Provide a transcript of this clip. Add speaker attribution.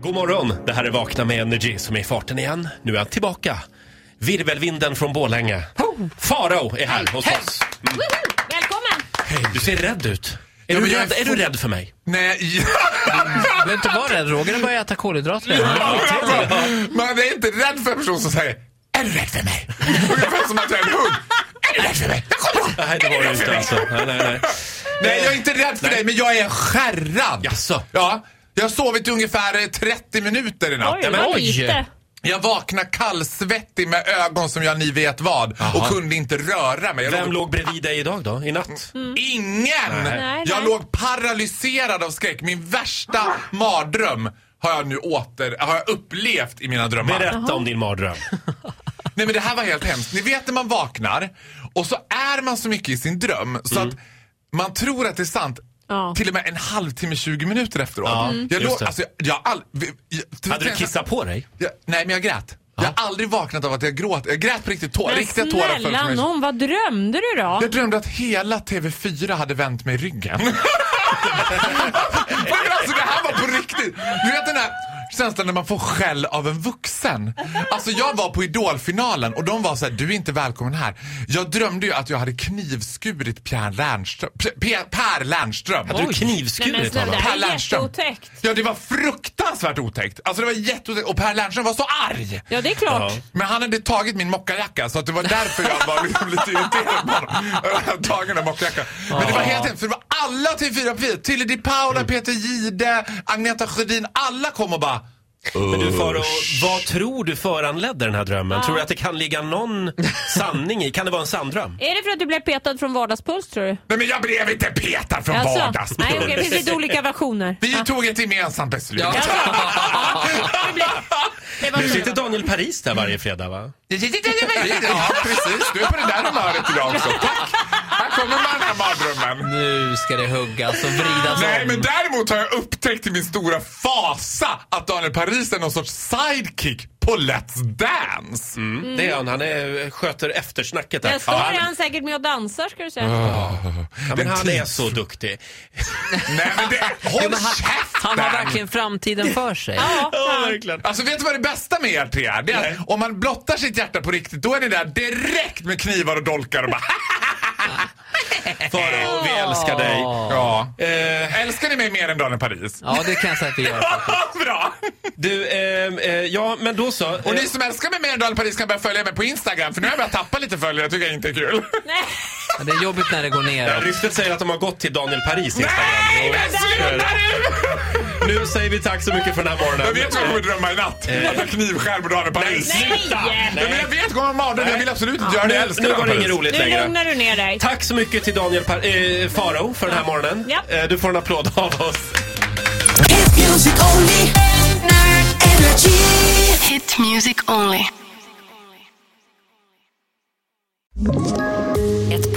Speaker 1: God morgon, det här är Vakna med Energy som är i farten igen. Nu är han tillbaka. Virvelvinden från Borlänge. Farao är här hos oss.
Speaker 2: Woho! Välkommen!
Speaker 1: Hej, du ser rädd ut. Är,
Speaker 3: Ja,
Speaker 1: du
Speaker 3: men jag
Speaker 1: rädd,
Speaker 3: är
Speaker 1: är du rädd för mig?
Speaker 3: Nej,
Speaker 4: Behöver inte vara rädd, Roger har börjat äta kolhydrater redan.
Speaker 3: man är inte rädd för en person som säger Är du rädd för mig? Ungefär som att jag är en hund. Är du rädd för mig? Jag kommer!
Speaker 1: Nej, det var du inte alltså. Nej, nej, nej.
Speaker 3: Nej, jag är inte rädd för dig, men jag är skärrad.
Speaker 1: Jaså?
Speaker 3: Ja, jag har sovit i ungefär eh, 30 minuter i natt.
Speaker 2: Oj,
Speaker 1: Ja, men
Speaker 2: vad
Speaker 4: oj.
Speaker 2: lite.
Speaker 3: Jag vaknade kallsvettig med ögon som jag ni vet vad och kunde inte röra mig. Jag
Speaker 1: Eh, Vem låg bredvid dig idag då, i natt?
Speaker 3: Mm. Ingen!
Speaker 2: Nej,
Speaker 3: jag
Speaker 2: nej.
Speaker 3: låg paralyserad av skräck. Min värsta mardröm har jag nu åter, har jag upplevt i mina drömmar.
Speaker 1: Berätta om din mardröm.
Speaker 3: Nej men det här var helt hemskt. Ni vet när man vaknar och så är man så mycket i sin dröm så
Speaker 1: Mm.
Speaker 3: att man tror att det är sant.
Speaker 2: Ja.
Speaker 3: Till och med en halvtimme, 20 minuter efteråt.
Speaker 1: Ja, Mm.
Speaker 3: Jag
Speaker 1: just
Speaker 3: låg,
Speaker 1: det.
Speaker 3: alltså, jag, jag har all, vi- jag,
Speaker 1: Hade du kissat på dig?
Speaker 3: Jag, nej men jag grät. Jag har aldrig vaknat av att jag gråt. Jag grät på riktigt tår.
Speaker 2: Men
Speaker 3: Riktiga tårar föll
Speaker 2: snälla
Speaker 3: för mig.
Speaker 2: någon, vad drömde du då?
Speaker 3: Jag drömde att hela TV4 hade vänt mig ryggen. Men alltså det här var på riktigt. Du vet den här känslan när man får skäll av en vuxen. Alltså jag var på idolfinalen och de var så här, du är inte välkommen här. Jag drömde ju att jag hade knivskurit Pierre Lernström, P- P- Per Lernström.
Speaker 1: Hade du
Speaker 4: Oj.
Speaker 2: Nej, men
Speaker 1: knivskurit
Speaker 2: snälla,
Speaker 1: honom?
Speaker 2: det här
Speaker 3: Per
Speaker 2: är
Speaker 3: Lernström.
Speaker 2: jätteotäckt.
Speaker 3: Ja det var fruktansvärt otäckt. Alltså det var jätteotäckt och Per Lernström var så arg.
Speaker 2: Ja, det är klart.
Speaker 1: Ja.
Speaker 3: Men han hade tagit min mockajacka så att det var därför jag var liksom lite irriterad på honom. Jag Tagen av mockajackan. Men det var helt enkelt, för det var alla till fyra på Tilly Di Paula, Peter Gide, Agneta Sjödin. Alla kom och bara
Speaker 1: Men du Faro, vad tror du föranledde den här drömmen? Tror du att det kan ligga någon sanning i? Kan det vara en sanndröm?
Speaker 2: Är det för att du blev petad från vardagspuls tror du?
Speaker 3: Nej men jag blev inte petad från
Speaker 2: Alltså,
Speaker 3: vardags.
Speaker 2: nej okej, det finns lite olika versioner.
Speaker 3: Vi tog ett gemensamt beslut.
Speaker 4: Ja.
Speaker 1: Nu sitter Daniel Paris där varje fredag va?
Speaker 3: Ja, precis. Du är på det där humöret idag också. Tack. Här kommer man den här mardrömmen.
Speaker 4: Nu ska det huggas och vridas
Speaker 3: Nej,
Speaker 4: om.
Speaker 3: men däremot har jag upptäckt till min stora fasa att Daniel Paris är någon sorts sidekick på Let's Dance.
Speaker 1: Mm. Det är han, han är, eh, sköter eftersnacket där.
Speaker 2: Jag Mm. står han säkert med och dansar ska du säga.
Speaker 1: Ja, men
Speaker 3: Den
Speaker 1: han är
Speaker 3: tids-
Speaker 1: så duktig.
Speaker 3: Nej, men det, håll
Speaker 4: Jo, men han, han har
Speaker 3: käften!
Speaker 4: verkligen framtiden för sig.
Speaker 2: Ja, fan.
Speaker 1: verkligen.
Speaker 3: Alltså vet du vad det bästa med er tre är? Det är att om man blottar sitt hjärta på riktigt, då är ni där direkt med knivar och dolkar och bara
Speaker 1: Faro, vi älskar dig.
Speaker 3: ja. Älskar ni mig mer än Daniel Paris?
Speaker 4: Ja, det kan jag säga att vi gör.
Speaker 3: Bra!
Speaker 1: Du, ehm, eh, ja men då så.
Speaker 3: Och
Speaker 1: Eh,
Speaker 3: ni som älskar mig mer än Daniel Paris kan börja följa mig på Instagram för nu har jag börjat tappa lite följare, tycker jag inte är kul.
Speaker 2: Nej,
Speaker 4: Men det är jobbigt när det går ner.
Speaker 1: Eh, Ryktet säger att de har gått till Daniel Paris Instagram.
Speaker 3: Nej, men sluta nu!
Speaker 1: Nu säger vi tack så mycket för den här morgonen.
Speaker 3: Jag vet vad jag kommer drömma i natt. Att
Speaker 1: Eh.
Speaker 3: jag knivskär på Daniel Paris.
Speaker 2: nej!
Speaker 3: Ja, men jag vet, kommer mardröm. Jag vill absolut inte göra det. Jag
Speaker 1: Nu,
Speaker 3: älskar
Speaker 1: nu var
Speaker 3: Daniel
Speaker 1: det inget
Speaker 3: Paris.
Speaker 1: roligt
Speaker 2: Nu
Speaker 1: längre.
Speaker 2: lugnar du ner dig.
Speaker 1: Tack så mycket till Daniel Par- eh, Faro för den här morgonen.
Speaker 2: Ja.
Speaker 1: Eh, du får en applåd av oss.
Speaker 5: Hit music only. Energy.
Speaker 6: Hit music only.
Speaker 7: Ett